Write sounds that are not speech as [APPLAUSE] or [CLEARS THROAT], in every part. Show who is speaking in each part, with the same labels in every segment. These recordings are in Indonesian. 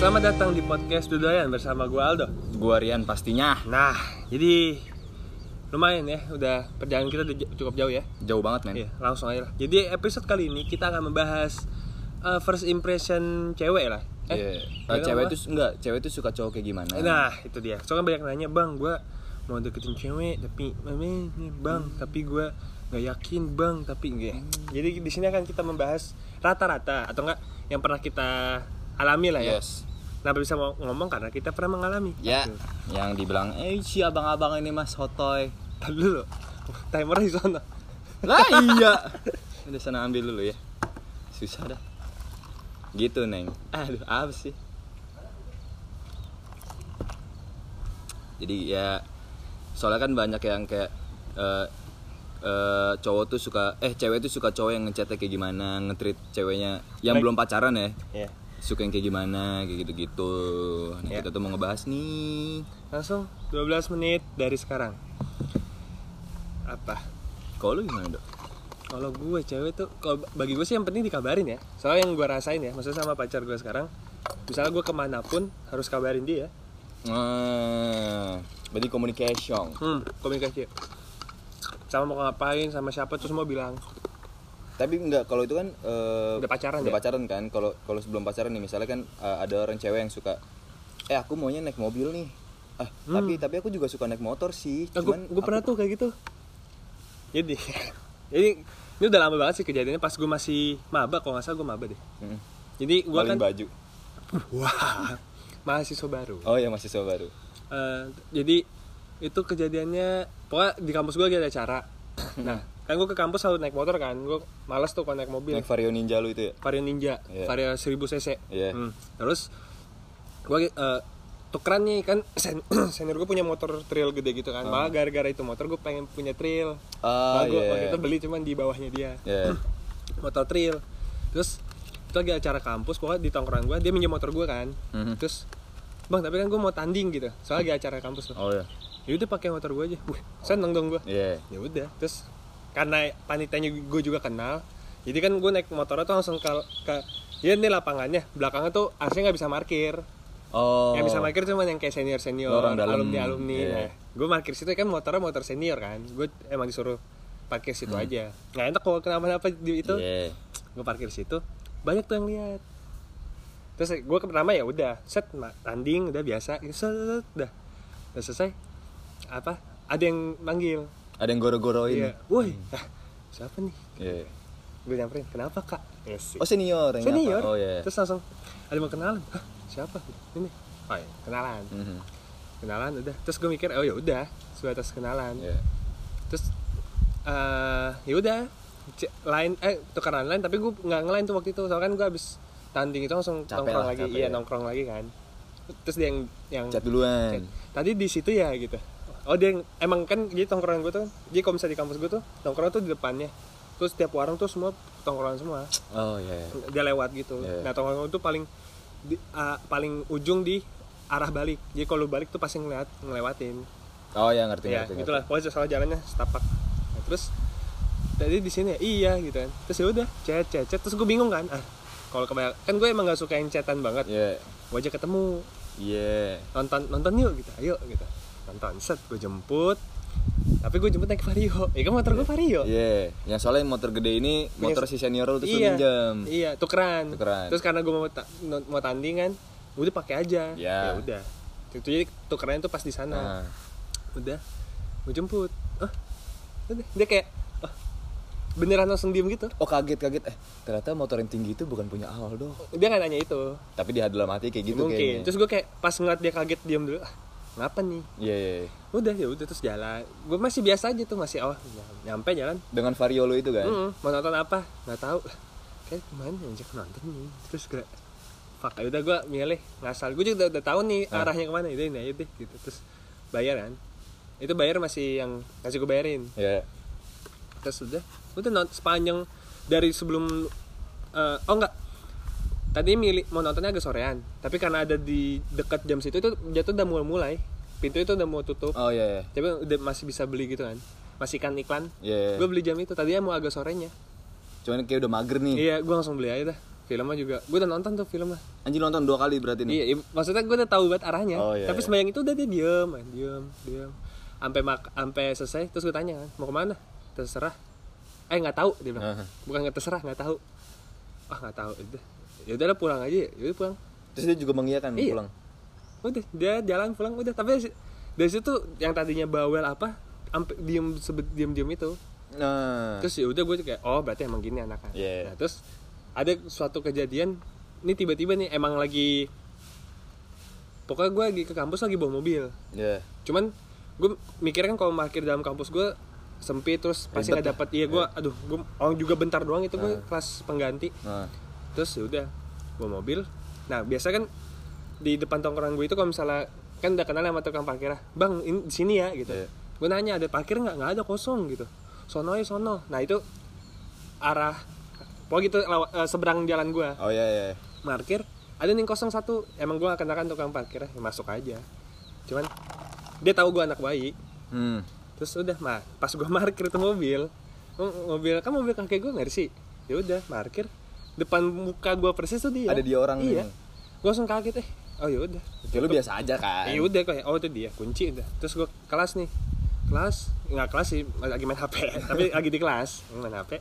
Speaker 1: Selamat datang di podcast Dudoyan bersama gue Aldo
Speaker 2: Gua Rian pastinya
Speaker 1: Nah, jadi lumayan ya, udah perjalanan kita udah j- cukup jauh ya
Speaker 2: jauh banget men.
Speaker 1: Iya, langsung aja lah Jadi episode kali ini kita akan membahas uh, first impression cewek lah
Speaker 2: Iya.
Speaker 1: Eh,
Speaker 2: Eh,
Speaker 1: cewek
Speaker 2: cewek
Speaker 1: apa?
Speaker 2: itu enggak, cewek itu suka cowok kayak gimana?
Speaker 1: Nah, itu dia. Soalnya banyak yang nanya, "Bang, gua mau deketin cewek, tapi mami, Bang, tapi gua nggak yakin, Bang, tapi enggak." Jadi di sini akan kita membahas rata-rata atau enggak yang pernah kita alami lah ya.
Speaker 2: Yes.
Speaker 1: Kenapa bisa mau ngomong karena kita pernah mengalami.
Speaker 2: Ya, yang dibilang, eh si abang-abang ini mas hotoy.
Speaker 1: Tahan dulu. Timer di sana.
Speaker 2: Lah iya. [LAUGHS] Udah sana ambil dulu ya. Susah dah. Gitu neng. Aduh apa sih? Jadi ya soalnya kan banyak yang kayak eh, eh, cowok tuh suka eh cewek tuh suka cowok yang ngechatnya kayak gimana ngetrit ceweknya yang
Speaker 1: Baik.
Speaker 2: belum pacaran ya
Speaker 1: Iya.
Speaker 2: suka yang kayak gimana kayak gitu-gitu. Nah,
Speaker 1: Ya.
Speaker 2: kita tuh mau ngebahas nih
Speaker 1: Langsung 12 menit dari sekarang. Apa?
Speaker 2: kalau lu gimana dok?
Speaker 1: Kalau gue cewek tuh, kalau bagi gue sih yang penting dikabarin ya. Soalnya yang gue rasain ya, maksudnya sama pacar gue sekarang, misalnya gue kemanapun harus kabarin dia.
Speaker 2: Hmm, berarti communication.
Speaker 1: Hmm, komunikasi. Sama mau ngapain, sama siapa terus mau bilang.
Speaker 2: Tapi enggak kalau itu kan eh,
Speaker 1: Udah pacaran
Speaker 2: udah
Speaker 1: ya?
Speaker 2: pacaran kan. Kalau kalau sebelum pacaran nih misalnya kan eh, ada orang cewek yang suka eh aku maunya naik mobil nih. Ah, tapi tapi aku juga suka naik motor sih.
Speaker 1: Nah, gue
Speaker 2: Cuman
Speaker 1: gue pernah tuh kayak gitu. Jadi, [LAUGHS] jadi ini udah lama banget sih kejadiannya pas gue masih maba, kalau nggak salah gue maba deh.
Speaker 2: Hmm,
Speaker 1: Jadi gue
Speaker 2: maling
Speaker 1: kan,
Speaker 2: baju.
Speaker 1: [LAUGHS] wah, mahasiswa baru.
Speaker 2: Oh ya masih baru.
Speaker 1: Eh, jadi itu kejadiannya pokoknya di kampus gue lagi ada acara
Speaker 2: [LAUGHS]
Speaker 1: nah kan gue ke kampus selalu naik motor kan gue malas tuh kalau naik mobil
Speaker 2: Naik Vario Ninja lu itu ya.
Speaker 1: vario ninja
Speaker 2: Iya.
Speaker 1: vario 1000 cc
Speaker 2: Iya.
Speaker 1: Hmm. terus gue tukeran nih kan [CLEARS THROAT] sen- senior gue punya motor trail gede gitu kan malah gara-gara itu motor gue pengen punya trail
Speaker 2: Hmm. Ah,
Speaker 1: Malah gue
Speaker 2: iya.
Speaker 1: waktu itu beli cuman di bawahnya dia
Speaker 2: Ya.
Speaker 1: motor trail terus itu lagi acara kampus pokoknya di tongkrongan gue dia minjem motor gue kan
Speaker 2: Mhm.
Speaker 1: terus bang tapi kan gue mau tanding gitu soalnya lagi acara kampus tuh
Speaker 2: Oh ya.
Speaker 1: ya udah pakai motor gue aja wih seneng dong gue
Speaker 2: Iya.
Speaker 1: ya udah terus karena panitanya gue juga kenal jadi kan gue naik motornya tuh langsung ke ke ya ini lapangannya belakangnya tuh harusnya nggak bisa markir
Speaker 2: Oh.
Speaker 1: yang bisa parkir cuma yang kayak senior senior
Speaker 2: Orang dalam.
Speaker 1: alumni alumni
Speaker 2: Iya.
Speaker 1: nah gue parkir situ kan motornya motor senior kan gue emang disuruh parkir situ aja nggak enak kalau kenapa-napa di itu
Speaker 2: Hmm. Iya.
Speaker 1: gue parkir situ banyak tuh yang lihat terus gue pertama ya udah set ma- tanding udah biasa gitu, set udah udah selesai apa ada yang manggil
Speaker 2: Ada yang goro-goroin.
Speaker 1: iya woi ah, siapa nih
Speaker 2: Iya.
Speaker 1: gue nyamperin kenapa kak yes.
Speaker 2: Oh senior yang nyapa.
Speaker 1: senior
Speaker 2: Oh iya.
Speaker 1: terus langsung ada mau kenalan Hah, siapa ini oh iya, kenalan
Speaker 2: Mhm.
Speaker 1: kenalan udah terus gue mikir oh ya udah sebatas kenalan
Speaker 2: Iya.
Speaker 1: terus eh ya udah C- lain eh tukeran lain tapi gue nggak ngelain tuh waktu itu soalnya kan gue habis tanding itu langsung
Speaker 2: Capek
Speaker 1: nongkrong
Speaker 2: lah,
Speaker 1: lagi
Speaker 2: capek
Speaker 1: iya
Speaker 2: ya.
Speaker 1: nongkrong lagi kan terus dia yang yang
Speaker 2: Chat duluan.
Speaker 1: tadi di situ ya gitu oh dia yang, emang kan jadi tongkrongan gue tuh jadi kalau misalnya di kampus gue tuh tongkrongan tuh di depannya terus setiap warung tuh semua tongkrongan semua
Speaker 2: Oh iya.
Speaker 1: dia lewat gitu
Speaker 2: Iya.
Speaker 1: nah tongkrongan itu paling di- ah, paling ujung di arah balik jadi kalau lu balik tuh pasti ngeliat ngelewatin
Speaker 2: Oh ya ngerti
Speaker 1: ya
Speaker 2: ngerti. ngerti.
Speaker 1: itulah pokoknya salah jalannya setapak Nah, terus tadi di sini ya iya gitu kan terus ya udah chat chat chat terus gue bingung kan ah kalau kebanyakan kan gue emang gak suka yang chatan banget
Speaker 2: Iya.
Speaker 1: gue aja ketemu
Speaker 2: Iya.
Speaker 1: nonton nonton yuk gitu ayo gitu nonton set gue jemput tapi gue jemput naik vario ya kan motor gue vario
Speaker 2: Iya. Yang soalnya motor gede ini
Speaker 1: Punya-
Speaker 2: motor si senior lu terus lu
Speaker 1: iya
Speaker 2: minjem.
Speaker 1: iya tukeran.
Speaker 2: Tukeran.
Speaker 1: terus karena gue mau ta- no- mau tanding kan udah pakai aja ya
Speaker 2: Ya.
Speaker 1: udah itu jadi tukerannya tuh pas di sana
Speaker 2: Nah.
Speaker 1: udah gue jemput ah udah dia kayak ah, beneran langsung diem gitu
Speaker 2: Oh kaget kaget eh ternyata motor yang tinggi itu bukan punya Aldo.
Speaker 1: dia nggak nanya itu
Speaker 2: Tapi di dalam hati kayak gitu
Speaker 1: mungkin
Speaker 2: kayaknya.
Speaker 1: terus gue kayak pas ngeliat dia kaget diem dulu ah ngapa nih
Speaker 2: Iya iya. iya.
Speaker 1: udah ya udah terus jalan gue masih biasa aja tuh masih oh ny- nyampe jalan
Speaker 2: Dengan vario lu itu kan.
Speaker 1: Mm, mau nonton apa nggak tahu Lah, kayak kemarin yang ajak nonton nih terus gue fuck ya udah gue milih ngasal gue juga udah, udah tahu nih arahnya kemana udah ini aja deh gitu terus bayaran itu bayar masih yang kasih gue bayarin
Speaker 2: Iya.
Speaker 1: terus udah udah nonton sepanjang dari sebelum eh, oh enggak tadi milih mau nontonnya agak sorean tapi karena ada di dekat jam situ itu jatuh udah mulai mulai pintu itu udah mau tutup
Speaker 2: Oh iya iya.
Speaker 1: tapi udah masih bisa beli gitu kan masih kan iklan
Speaker 2: Iya. iya.
Speaker 1: gue beli jam itu tadinya ya mau agak sorenya
Speaker 2: Cuman kayak udah mager nih.
Speaker 1: iya gue langsung beli aja dah filmnya juga gue udah nonton tuh filmnya
Speaker 2: Anjing nonton dua kali berarti nih.
Speaker 1: Iya, iya, maksudnya gue udah tahu banget arahnya.
Speaker 2: Oh, iya,
Speaker 1: Tapi
Speaker 2: iya.
Speaker 1: sembayang itu udah dia diem, aja, diem, diem. Sampai mak, sampai selesai, terus gue tanya kan, mau kemana? Terserah. Eh nggak tahu dia bilang.
Speaker 2: Aha.
Speaker 1: Bukan nggak terserah, nggak tahu. Ah nggak tahu itu. Ya udah lah, pulang aja, ya udah pulang.
Speaker 2: Terus dia juga mengiyakan
Speaker 1: Iya.
Speaker 2: pulang.
Speaker 1: Udah dia jalan pulang udah. Tapi si- dari situ yang tadinya bawel apa, sampai diem sebet diem diem itu.
Speaker 2: Nah.
Speaker 1: Terus ya udah gue kayak, oh berarti emang gini anaknya.
Speaker 2: Iya.
Speaker 1: Nah, terus ada suatu kejadian, ini tiba-tiba nih emang lagi Pokoknya gue lagi ke kampus lagi bawa mobil
Speaker 2: ya.
Speaker 1: cuman gue mikirnya kan kalau parkir dalam kampus gue sempit terus pasti
Speaker 2: Ribet ya?
Speaker 1: nggak dapat iya gue aduh gue orang juga bentar doang itu gue kelas pengganti
Speaker 2: Nah.
Speaker 1: terus ya udah bawa mobil nah biasa kan di depan tongkrongan gue itu kalau misalnya kan udah kenal sama tukang parkir lah bang ini di sini ya gitu
Speaker 2: Iya.
Speaker 1: gue nanya ada parkir nggak nggak ada kosong gitu sono ya sono nah itu arah pokoknya gitu lawa- eh, seberang jalan gue
Speaker 2: Oh iya iya.
Speaker 1: parkir ada nih kosong satu emang gue akan akan tukang parkir ya masuk aja cuman dia tahu gue anak bayi
Speaker 2: Hmm.
Speaker 1: terus udah mah pas gue parkir itu mobil mo- mobil kan mobil kakek gue nggak sih ya udah parkir depan muka gue persis tuh dia
Speaker 2: Ada dia orang
Speaker 1: iya
Speaker 2: nih.
Speaker 1: gue langsung kaget eh oh ya udah
Speaker 2: Ya lu biasa aja kan.
Speaker 1: ya udah kayak oh itu dia kunci udah terus gue kelas nih kelas nggak kelas sih lagi main hp [LAUGHS] tapi lagi di kelas main hp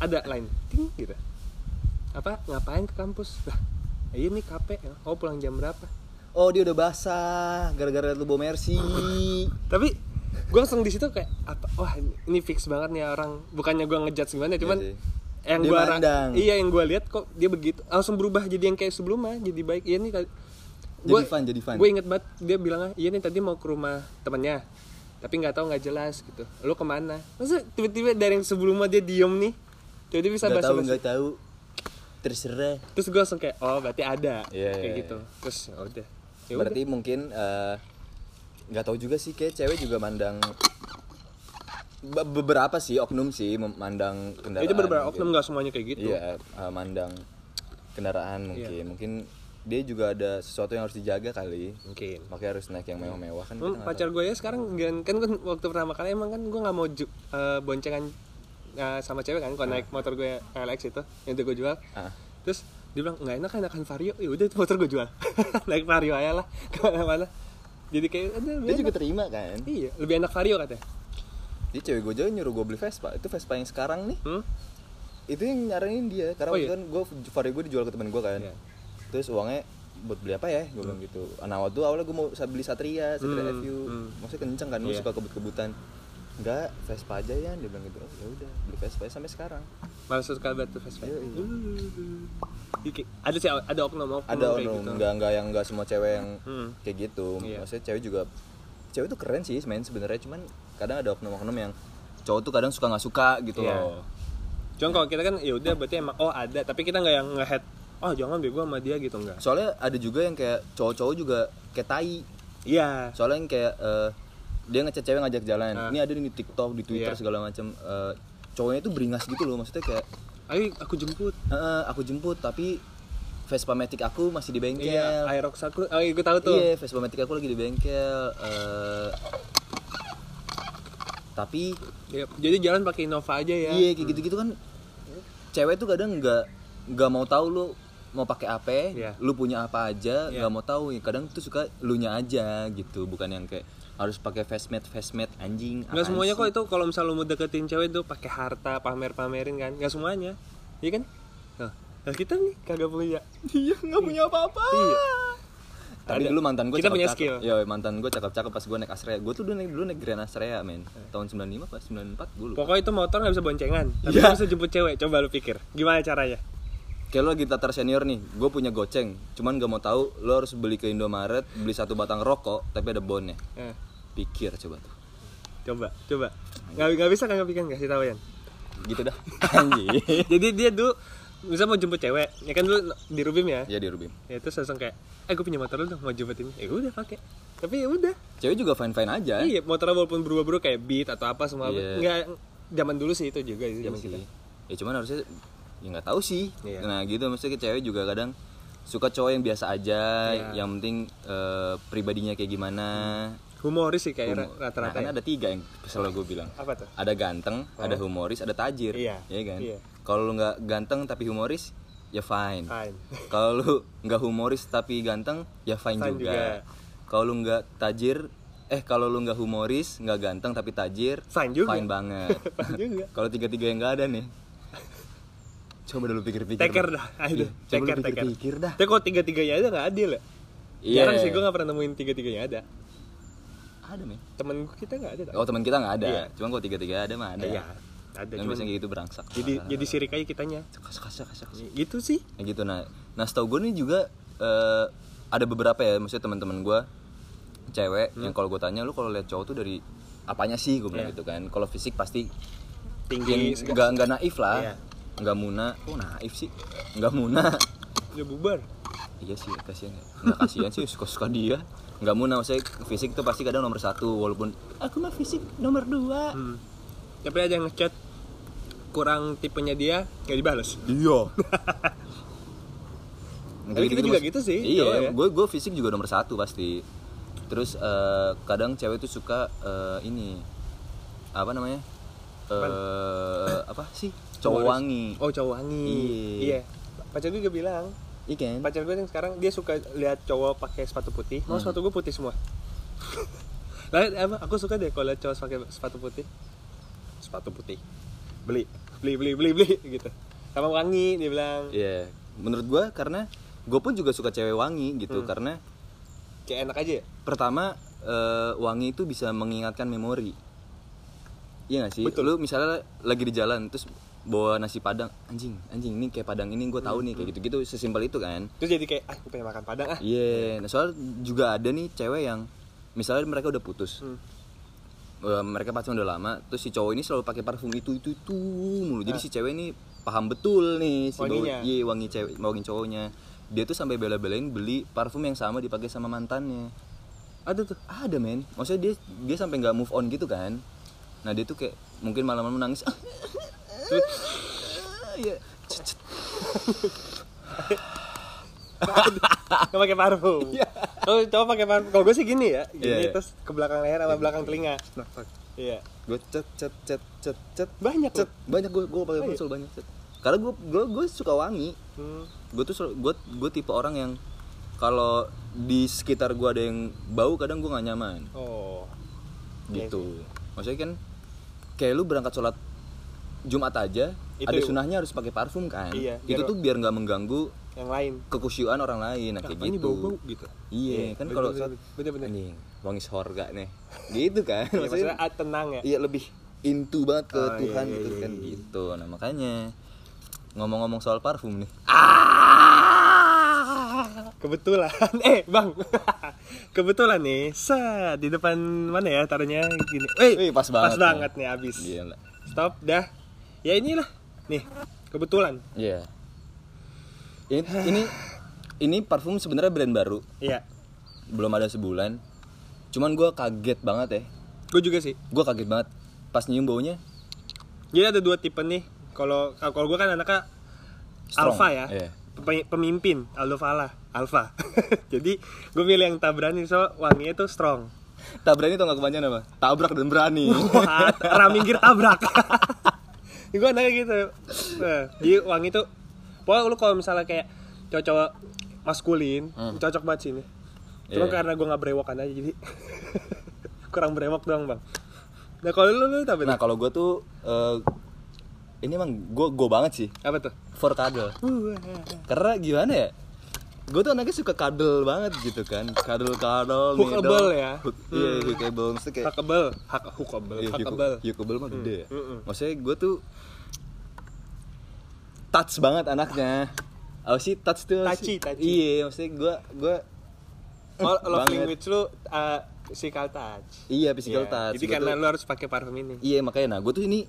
Speaker 1: ada lain ting gitu apa ngapain ke kampus lah iya nih KP oh pulang jam berapa
Speaker 2: Oh dia udah basah gara-gara lu bawa Mercy.
Speaker 1: tapi gue langsung di situ kayak apa wah ini fix banget nih orang bukannya gue ngejudge gimana cuman
Speaker 2: Iya sih.
Speaker 1: yang
Speaker 2: Dia
Speaker 1: gue
Speaker 2: mandang.
Speaker 1: iya yang gue lihat kok dia begitu langsung berubah jadi yang kayak sebelumnya jadi baik iya nih tadi
Speaker 2: Jadi fun, jadi fun.
Speaker 1: gue inget banget dia bilangnya iya nih tadi mau ke rumah temennya tapi nggak tahu nggak jelas gitu lu kemana masa tiba-tiba dari yang sebelumnya dia diem nih tiba-tiba bisa
Speaker 2: Gak tahu
Speaker 1: basa-basi
Speaker 2: gak tahu. Terserah.
Speaker 1: terus gue langsung kayak oh berarti ada
Speaker 2: Iya,
Speaker 1: kayak
Speaker 2: iya,
Speaker 1: gitu terus ya udah Ya udah.
Speaker 2: Berarti mungkin eh, nggak tahu juga sih kayak cewek juga mandang Be- beberapa sih oknum sih memandang kendaraan.
Speaker 1: itu berbeda Ya
Speaker 2: mungkin.
Speaker 1: oknum nggak semuanya kayak gitu Iya.
Speaker 2: Iya, eh, mandang kendaraan mungkin. Mungkin dia juga ada sesuatu yang harus dijaga kali.
Speaker 1: mungkin
Speaker 2: Makanya harus naik yang mewah-mewah kan.
Speaker 1: Hmm,
Speaker 2: kita nggak
Speaker 1: pacar gue ya sekarang kan, kan gua waktu pertama kali emang kan gue nggak mau ju- eh, boncengan eh, sama cewek kan
Speaker 2: Nah.
Speaker 1: kalau naik motor gue LX itu yang itu gue jual
Speaker 2: Ah.
Speaker 1: terus dia bilang nggak enak kan enakan vario ya udah itu motor gue jual [LAUGHS] naik vario aja lah [LAUGHS] kemana-mana jadi kayak udah
Speaker 2: tahu.
Speaker 1: lebih
Speaker 2: Dia juga
Speaker 1: enak."
Speaker 2: terima kan.
Speaker 1: iya lebih enak vario katanya
Speaker 2: Jadi cewek gue juga nyuruh gue beli Vespa. Itu Vespa yang sekarang nih.
Speaker 1: hmm?
Speaker 2: Itu yang nyaranin dia
Speaker 1: Oh,
Speaker 2: karena
Speaker 1: iya?
Speaker 2: waktu kan gue vario gue dijual ke temen gue kan.
Speaker 1: Iya.
Speaker 2: Terus uangnya buat beli apa ya? Gue bilang gitu. Nah waktu itu awalnya gue mau sa- beli Satria, Satria
Speaker 1: Hmm,
Speaker 2: FU.
Speaker 1: hmm.
Speaker 2: Maksudnya kenceng kan, gue
Speaker 1: Iya.
Speaker 2: suka kebut-kebutan. Enggak, Vespa aja ya. Dia bilang gitu. Oh, ya udah, beli Vespa aja sampai sekarang.
Speaker 1: malah suka banget tuh Vespa
Speaker 2: Iya, iya.
Speaker 1: Jadi kayak- ada sih ada oknum oknum
Speaker 2: ada
Speaker 1: kayak
Speaker 2: oknum
Speaker 1: gitu
Speaker 2: nggak nggak yang nggak semua cewek yang
Speaker 1: Hmm.
Speaker 2: kayak gitu
Speaker 1: Iya.
Speaker 2: maksudnya cewek juga cewek tuh keren sih main sebenarnya cuman kadang ada oknum-oknum yang cowok tuh kadang suka nggak suka gitu
Speaker 1: Iya.
Speaker 2: loh
Speaker 1: cuman kalau kita kan ya udah berarti emang oh ada tapi kita nggak yang ngehead oh jangan bego sama dia gitu enggak
Speaker 2: soalnya ada juga yang kayak cowok-cowok juga kayak tai
Speaker 1: iya
Speaker 2: soalnya yang kayak eh, dia ngechat cewek ngajak jalan
Speaker 1: Ah.
Speaker 2: ini ada di TikTok di
Speaker 1: Iya.
Speaker 2: Twitter segala macam Eh, cowoknya tuh beringas gitu loh maksudnya kayak
Speaker 1: ayo aku jemput
Speaker 2: "Eh, eh, aku jemput tapi Vespa Matic aku masih di bengkel
Speaker 1: Iya, Aerox aku, oh iya gue tahu tuh.
Speaker 2: Iya, Vespa Matic aku lagi di bengkel. eh, tapi
Speaker 1: Iya, Jadi jalan pakai Innova aja ya.
Speaker 2: iya kayak gitu-gitu kan cewek tuh kadang nggak nggak mau tahu lu mau pakai apa,
Speaker 1: Iya.
Speaker 2: lu punya apa aja,
Speaker 1: Iya.
Speaker 2: nggak mau tahu. Ya, Kadang tuh suka lu nya aja gitu, bukan yang kayak harus pakai facemate facemate anjing.
Speaker 1: Nggak
Speaker 2: apaan
Speaker 1: semuanya
Speaker 2: sih?
Speaker 1: kok itu kalau misal lu mau deketin cewek tuh pakai harta pamer-pamerin kan. Nggak semuanya. Iya kan? Nah, nah kita nih kagak punya.
Speaker 2: Iya, nggak punya apa-apa.
Speaker 1: Iya.
Speaker 2: Tapi
Speaker 1: Ada.
Speaker 2: dulu mantan gue
Speaker 1: Kita punya skill.
Speaker 2: Ya mantan gue cakep-cakep pas gue naik Astrea. Gue tuh dulu naik, dulu naik Grand Astrea, men. Tahun 95 pas 94 gue lupa.
Speaker 1: Pokoknya itu motor nggak bisa boncengan, tapi
Speaker 2: Iya.
Speaker 1: lu bisa jemput cewek. Coba lu pikir, gimana caranya?
Speaker 2: Kayak lo lagi tatar senior nih, gue punya goceng, cuman gak mau tahu lo harus beli ke Indomaret, beli satu batang rokok, tapi ada bonnya.
Speaker 1: Nah,
Speaker 2: Pikir coba tuh.
Speaker 1: coba, coba. Nggak, nggak bisa kan nggak pikir nggak sih tahu ya?
Speaker 2: Gitu
Speaker 1: [LAUGHS]
Speaker 2: dah. Anjir.
Speaker 1: Jadi dia dulu bisa mau jemput cewek, ya kan dulu di Rubim ya.
Speaker 2: Ya di Rubim.
Speaker 1: Ya terus langsung kayak, eh gue punya motor lu dong mau jemputin. Ya udah pakai. Tapi ya udah,
Speaker 2: Cewek juga fine-fine aja.
Speaker 1: Iya, motornya walaupun berubah-berubah kayak beat atau apa semua
Speaker 2: Iya.
Speaker 1: nggak zaman dulu sih itu juga sih
Speaker 2: Iya
Speaker 1: zaman
Speaker 2: sih.
Speaker 1: kita.
Speaker 2: Ya cuman harusnya ya nggak tahu sih.
Speaker 1: Iya.
Speaker 2: Nah gitu maksudnya cewek juga kadang suka cowok yang biasa aja,
Speaker 1: Iya.
Speaker 2: yang penting eh, pribadinya kayak gimana.
Speaker 1: Humoris sih kayak
Speaker 2: Humo-
Speaker 1: rata-rata. ya.
Speaker 2: Nah, kan ada tiga yang selalu gue bilang.
Speaker 1: Apa tuh? Oh.
Speaker 2: Ada ganteng, ada humoris, ada tajir.
Speaker 1: Iya.
Speaker 2: kan?
Speaker 1: Iya.
Speaker 2: Kalau lu nggak ganteng tapi humoris, ya fine.
Speaker 1: Fine.
Speaker 2: Kalau lu nggak humoris tapi ganteng, ya fine,
Speaker 1: Fine
Speaker 2: juga.
Speaker 1: juga.
Speaker 2: Kalau lu nggak tajir, eh kalau lu nggak humoris, nggak ganteng tapi tajir,
Speaker 1: Fine juga.
Speaker 2: Fine banget.
Speaker 1: [LAUGHS] Fine juga.
Speaker 2: kalau tiga-tiga yang nggak ada nih, coba dulu pikir-pikir.
Speaker 1: Teker dah, ayo
Speaker 2: Iya, coba
Speaker 1: teker teker.
Speaker 2: lu pikir-pikir dah.
Speaker 1: Tapi kalau tiga tiganya ada nggak adil ya?
Speaker 2: Iya.
Speaker 1: Jarang sih gue nggak pernah nemuin tiga tiganya ada.
Speaker 2: Ada nih.
Speaker 1: Temen gue kita nggak ada. tau.
Speaker 2: Oh teman kita nggak ada,
Speaker 1: Iya.
Speaker 2: cuman kalau tiga-tiga ada mah ada. ya?
Speaker 1: Iya, ada.
Speaker 2: Yang
Speaker 1: cuman
Speaker 2: biasanya kayak gitu berangsak.
Speaker 1: jadi jadi sirik aja kitanya.
Speaker 2: Kas- kas- kas- kas- kas.
Speaker 1: Gitu sih.
Speaker 2: Ya gitu nah nah setahu gue nih juga eh, ada beberapa ya maksudnya teman-teman gue cewek yang kalau gue tanya lu kalau lihat cowok tuh dari apanya sih gue
Speaker 1: Hmm.
Speaker 2: bilang
Speaker 1: Iya.
Speaker 2: gitu kan kalau fisik pasti
Speaker 1: Tinggi.
Speaker 2: yang
Speaker 1: segala-
Speaker 2: nggak nggak naif
Speaker 1: Iya.
Speaker 2: lah nggak muna kok naif sih nggak muna [LAUGHS]
Speaker 1: Udah bubar.
Speaker 2: iya sih kasihan ya nggak kasihan sih suka suka dia nggak muna maksudnya fisik tuh pasti kadang nomor satu walaupun aku mah fisik nomor dua
Speaker 1: Hmm. Tapi ada yang ngechat kurang tipenya dia nggak dibales.
Speaker 2: iya
Speaker 1: [LAUGHS] Tapi kita juga gitu sih, cowok ya.
Speaker 2: Iya, gue gue fisik juga nomor satu pasti. Terus eh, kadang cewek tuh suka eh, ini apa namanya? Eh apa sih? Cowok
Speaker 1: Humoris.
Speaker 2: wangi.
Speaker 1: Oh cowok wangi. Iya.
Speaker 2: Iya.
Speaker 1: Pacar gue juga bilang.
Speaker 2: Iya kan?
Speaker 1: Pacar gue yang sekarang dia suka lihat cowok pakai sepatu putih. Mau
Speaker 2: Hmm.
Speaker 1: sepatu gue putih semua. [LAUGHS] Lah emang aku suka deh kalau lihat cowok pakai sepatu putih. Sepatu putih. Beli, beli, beli, beli, [LAUGHS] beli gitu. Sama wangi dia bilang.
Speaker 2: Iya. Menurut gue karena gue pun juga suka cewek wangi
Speaker 1: Hmm.
Speaker 2: gitu karena
Speaker 1: Kayak enak aja ya?
Speaker 2: pertama eh, wangi itu bisa mengingatkan memori. Iya gak sih?
Speaker 1: Betul.
Speaker 2: Lu misalnya lagi di jalan terus bawa nasi padang, anjing, anjing ini kayak padang ini gue tahu nih kayak gitu-gitu sesimpel itu kan.
Speaker 1: Terus jadi kayak, ah gue pengen makan padang ah.
Speaker 2: Iya, nah soal juga ada nih cewek yang misalnya mereka udah putus.
Speaker 1: Hmm. [LAUGHS]
Speaker 2: Eh, mereka pacaran udah lama, terus si cowok ini selalu pakai parfum itu itu itu mulu. Jadi si cewek ini paham betul nih si bau-
Speaker 1: Wanginya.
Speaker 2: iya, wangi cewek, wangi cowoknya. Dia tuh sampai bela-belain beli parfum yang sama dipakai sama mantannya.
Speaker 1: Ada tuh.
Speaker 2: Ada men, maksudnya dia dia sampai nggak move on gitu kan. Nah dia tuh kayak mungkin malam-malam nangis. [LAUGHS] Iya.
Speaker 1: Gak pakai parfum.
Speaker 2: [LAUGHS]
Speaker 1: Kalau cowok pakai parfum, kalau gue sih gini ya, gini
Speaker 2: Iya, iya.
Speaker 1: terus ke belakang leher sama belakang telinga. Iya.
Speaker 2: gue cet cet cet cet cet
Speaker 1: Banyak
Speaker 2: cet
Speaker 1: loh.
Speaker 2: banyak gue gue pakai pensul banyak cet karena gue gue gue suka wangi
Speaker 1: Hmm.
Speaker 2: gue tuh sel- gue gue tipe orang yang kalau di sekitar gue ada yang bau kadang gue nggak nyaman
Speaker 1: Oh.
Speaker 2: gitu maksudnya kan kayak lu berangkat sholat Jumat aja
Speaker 1: Itu
Speaker 2: ada
Speaker 1: ya.
Speaker 2: sunahnya harus pakai parfum kan
Speaker 1: Iya,
Speaker 2: itu
Speaker 1: biar-
Speaker 2: tuh biar nggak mengganggu
Speaker 1: Yang lain.
Speaker 2: kekusyuan orang lain nah, kayak
Speaker 1: Apaan nih
Speaker 2: gitu
Speaker 1: bau-bau gitu.
Speaker 2: iya kan
Speaker 1: bener,
Speaker 2: kalau
Speaker 1: bener,
Speaker 2: sholat
Speaker 1: bener, bener.
Speaker 2: anjing, wangi sorga nih gitu kan
Speaker 1: Iya, maksudnya ah, tenang ya.
Speaker 2: iya lebih into banget ke
Speaker 1: Oh, iya,
Speaker 2: Tuhan
Speaker 1: iya,
Speaker 2: gitu
Speaker 1: iya,
Speaker 2: kan
Speaker 1: iya.
Speaker 2: gitu nah makanya ngomong-ngomong soal parfum nih
Speaker 1: Ah!
Speaker 2: Ah.
Speaker 1: Kebetulan, [LAUGHS] eh bang, kebetulan nih, set di depan mana ya taruhnya gini.
Speaker 2: Wih, pas
Speaker 1: Pas
Speaker 2: banget Iya.
Speaker 1: banget nih abis.
Speaker 2: gila
Speaker 1: Stop dah. Ya inilah, nih kebetulan.
Speaker 2: iya ini ini ini parfum sebenarnya brand baru
Speaker 1: Iya,
Speaker 2: belum ada sebulan cuman gue kaget banget ya
Speaker 1: gue juga sih.
Speaker 2: gue kaget banget pas nyium baunya
Speaker 1: Jadi ada dua tipe nih. Kalau kalau gue kan anaknya
Speaker 2: Strong,
Speaker 1: alfa ya.
Speaker 2: iya.
Speaker 1: Pe- Pemimpin, Aldo Fala, alfa. [LAUGHS] Jadi gue pilih yang tabrani so wanginya tuh strong.
Speaker 2: tak berani tau gak kepanjangan apa tabrak dan berani
Speaker 1: [LAUGHS] Wah, raminggir [LAUGHS] tabrak. gue anaknya gitu. Nah, jadi wangi tuh pokoknya lu kalau misalnya kayak cowok-cowok maskulin, cocok banget sih ini. Cuma
Speaker 2: Hmm. Iya.
Speaker 1: karena gue nggak berewokan aja jadi [LAUGHS] kurang berewok doang, Bang. Nah, kalau lu lu tapi
Speaker 2: nah kalau gue tuh eh, ini emang gue gue banget sih
Speaker 1: apa tuh?
Speaker 2: for cuddle karena gimana ya gue tuh anaknya suka kadel banget gitu kan kadel kadel
Speaker 1: Hookable ya?
Speaker 2: iya hookable maksudnya kayak
Speaker 1: Hakable, hak hukable,
Speaker 2: iya, hook-
Speaker 1: hakable.
Speaker 2: hookable mah gede ya
Speaker 1: Mm-mm.
Speaker 2: maksudnya gue tuh touch banget anaknya apa sih touch tuh apa
Speaker 1: Touchy,
Speaker 2: sih?
Speaker 1: touchy.
Speaker 2: iya maksudnya gue gue
Speaker 1: Oh, love
Speaker 2: Banget.
Speaker 1: language lu uh, physical touch.
Speaker 2: iya physical
Speaker 1: Iya,
Speaker 2: touch
Speaker 1: Jadi
Speaker 2: Gua
Speaker 1: karena
Speaker 2: tuh-
Speaker 1: lu harus pakai parfum ini.
Speaker 2: iya makanya nah gue tuh ini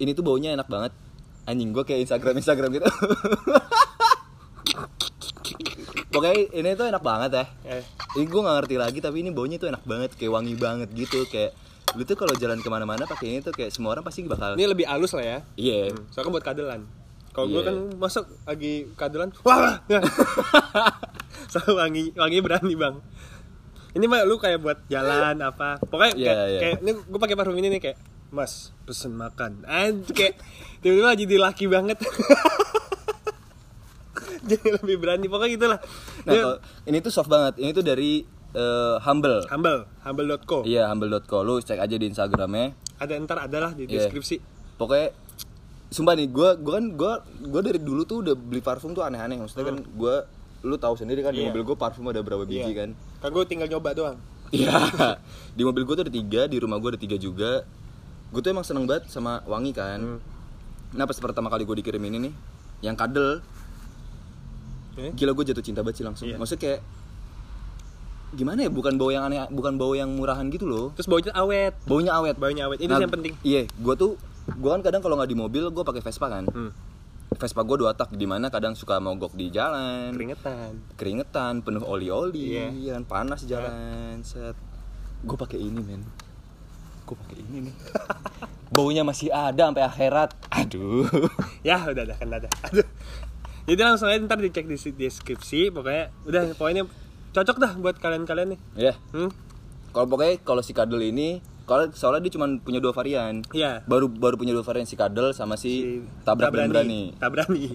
Speaker 2: ini tuh baunya enak banget anjing gue kayak Instagram Instagram gitu [LAUGHS] pokoknya ini tuh enak banget ya
Speaker 1: Eh,
Speaker 2: ini gue gak ngerti lagi tapi ini baunya tuh enak banget kayak wangi banget gitu kayak lu tuh kalau jalan kemana-mana pakai ini tuh kayak semua orang pasti bakal
Speaker 1: ini lebih halus lah ya.
Speaker 2: iya
Speaker 1: Soalnya buat kadelan. Kalau gue
Speaker 2: Iya.
Speaker 1: kan masuk lagi kadelan, wah. [LAUGHS] Soalnya wangi wangi berani, Bang. Ini mah lu kayak buat jalan apa. Pokoknya
Speaker 2: Iya,
Speaker 1: kayak,
Speaker 2: iya.
Speaker 1: kayak- ini gue pakai parfum ini nih kayak Mas, pesen makan. Anj kayak tiba-tiba jadi laki banget. [LAUGHS] jadi lebih berani pokoknya gitulah
Speaker 2: Nah,
Speaker 1: Iya.
Speaker 2: kalau- ini tuh soft banget. Ini tuh dari eh, Humble.
Speaker 1: humble humble.co
Speaker 2: Iya, humble.co. Lu cek aja di Instagramnya.
Speaker 1: ada ntar adalah di
Speaker 2: Iya.
Speaker 1: deskripsi
Speaker 2: Pokoknya sumpah nih, gua gua kan gua gua dari dulu tuh udah beli parfum tuh aneh-aneh. Maksudnya kan gua lu tahu sendiri kan di
Speaker 1: Hmm. Iya.
Speaker 2: mobil gua parfum ada berapa biji
Speaker 1: Iya.
Speaker 2: kan.
Speaker 1: kan gue tinggal nyoba doang
Speaker 2: Iya. [LAUGHS] di mobil gua tuh ada tiga, di rumah gua ada tiga juga. Gua tuh emang seneng banget sama wangi
Speaker 1: Hmm.
Speaker 2: kan. Nah, pas pertama kali gua dikirim ini nih, yang kadel,
Speaker 1: Eh?
Speaker 2: gila gue jatuh cinta banget sih langsung.
Speaker 1: Iya.
Speaker 2: Maksudnya kayak gimana ya? Bukan bau yang aneh, bukan bau yang murahan gitu loh.
Speaker 1: terus baunya awet
Speaker 2: Baunya awet.
Speaker 1: baunya awet ini
Speaker 2: Nah,
Speaker 1: sih yang penting
Speaker 2: Iya, gue tuh gue kan kadang kalau nggak di mobil gue pakai Vespa kan.
Speaker 1: Hmm,
Speaker 2: Vespa gue dua tak di mana kadang suka mogok di jalan,
Speaker 1: keringetan
Speaker 2: keringetan, penuh oli-oli,
Speaker 1: Iya.
Speaker 2: iya kan, panas jalan. Set, gue pakai ini men. Gue pakai ini nih. [LAUGHS] Baunya masih ada sampai akhirat. Aduh. [LAUGHS]
Speaker 1: ya udah dah kan dah aduh jadi langsung aja ntar dicek di si- deskripsi pokoknya udah pokoknya cocok dah buat kalian-kalian nih
Speaker 2: Ya,
Speaker 1: hmm?
Speaker 2: kalau pokoknya kalau si kadel ini, kalau soalnya dia cuma punya dua varian.
Speaker 1: ya
Speaker 2: baru baru punya dua varian si kadel sama si, tabrak dan berani. [LAUGHS]
Speaker 1: tabrani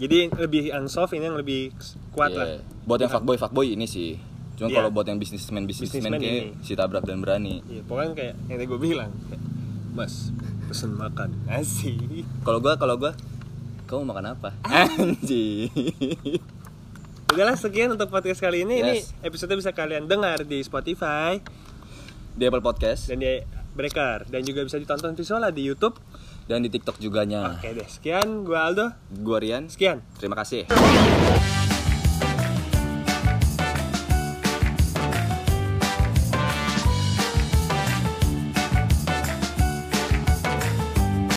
Speaker 1: jadi lebih yang soft ini yang lebih kuat
Speaker 2: Iya.
Speaker 1: lah
Speaker 2: Buat yang fuckboy fuckboy ini sih. Cuma
Speaker 1: Iya.
Speaker 2: kalau buat yang bisnismen bisnismen
Speaker 1: Bisnismen
Speaker 2: kayak
Speaker 1: ini.
Speaker 2: si tabrak dan berani.
Speaker 1: Iya, pokoknya kayak yang tadi gue bilang kayak, mas pesen makan nasi
Speaker 2: Kalau gua kalau gua kamu mau makan apa?
Speaker 1: Ah.
Speaker 2: Anjing.
Speaker 1: udahlah sekian untuk podcast kali ini ini
Speaker 2: Yes.
Speaker 1: episode bisa kalian dengar di Spotify
Speaker 2: di Apple Podcast
Speaker 1: dan
Speaker 2: dan,
Speaker 1: di Breaker dan juga bisa ditonton visualnya di YouTube
Speaker 2: di TikTok juga nya.
Speaker 1: oke deh sekian gue Aldo
Speaker 2: Gua Rian.
Speaker 1: sekian
Speaker 2: Terima kasih.